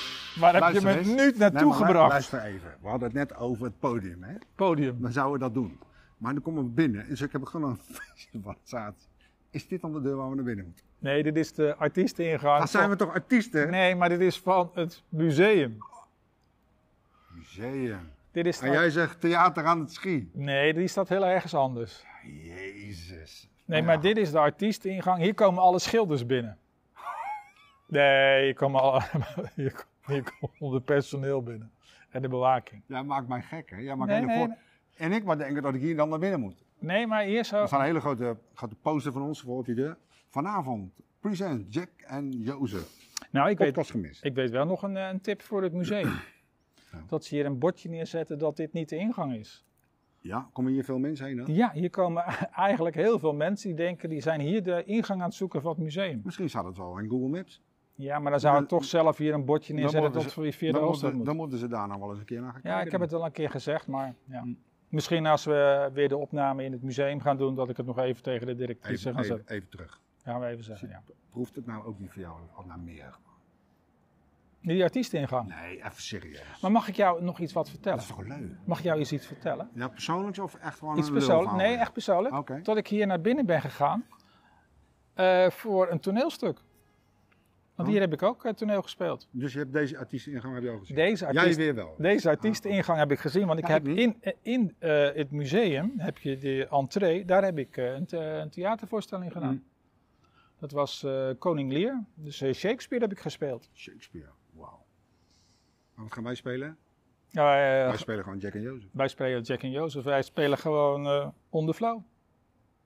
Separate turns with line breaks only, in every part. heb je me
luister eens.
nu naartoe
maar lu-
gebracht.
Luister even. We hadden het net over het podium, hè?
Podium.
Dan zouden we dat doen. Maar dan komen we binnen en zo heb ik gewoon een feestje van zaad. Is dit dan de deur waar we naar binnen moeten?
Nee, dit is de artiesteningang.
Dan zijn we toch artiesten?
Nee, maar dit is van het museum.
Museum.
Dit is
En jij zegt theater aan het schi.
Nee, die staat heel ergens anders.
Jezus.
Nee,
Nou Ah, Ja.
maar dit is de artiesteningang. Hier komen alle schilders binnen. Nee, hier komen, alle, hier komt- hier komt het personeel binnen. En de bewaking.
Jij maakt mij gek, hè? Jij maakt
Nee,
hele
nee,
voor-
nee.
En ik maar denken dat ik hier dan naar binnen moet.
Nee, maar hier zo...
Er staan een hele grote, grote poster van ons voor op die deur. Vanavond, present Jack en Jozef.
Nou, ik weet,
Podcast gemist.
ik weet wel nog een, eh, een tip voor het museum. Dat ze hier een bordje neerzetten dat dit niet de ingang is.
Ja, komen hier veel mensen heen? Hè?
Ja, hier komen eigenlijk heel veel mensen die denken... die zijn hier de ingang aan het zoeken van het museum.
Misschien staat het wel in Google Maps.
Ja, maar dan zou ik
Dan-
toch zelf hier een bordje neerzetten
moeten
dat
ze-
we via de
dan
Hoofdstad
moeten,
moeten.
dan moeten ze daar nou wel eens een keer naar gaan kijken.
Ja, ik heb het al een keer gezegd, maar ja.
Hm.
misschien als we weer de opname in het museum gaan doen, dat ik het nog even tegen de directrice
even,
ga
even,
zeggen.
even terug.
Gaan we even zeggen, ja.
Proeft het nou ook niet voor jou al naar meer?
Die artiesteningang.
Nee, even serieus.
Maar mag ik jou nog iets wat
Dat
vertellen?
is toch leuk?
Mag ik jou eens iets vertellen?
Ja, persoonlijks of echt gewoon
Iets
een
persoonlijk?
lulverhaal?
Nee, echt persoonlijk.
Oké.
Tot ik hier naar binnen ben gegaan eh, voor een toneelstuk. Want
Oh.
hier heb ik ook eh, toneel gespeeld.
Dus je hebt deze artiest ingang heb je al gezien?
Deze
Jij
artiest
weer wel.
Deze artiesteningang heb ik gezien, want ik
Ja,
heb
ik niet.
in, eh, in eh, het museum, heb je de entree, daar heb ik eh, een, the- een theatervoorstelling gedaan. Dat was eh, Koning Lear, dus eh, Shakespeare heb ik gespeeld.
Shakespeare, wauw. En wat gaan wij spelen?
Eh,
wij spelen gewoon Jack en Jozef.
wij spelen Jack en Jozef, wij spelen gewoon eh on the flow.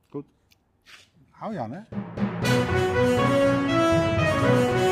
Goed. Hou je aan, hè?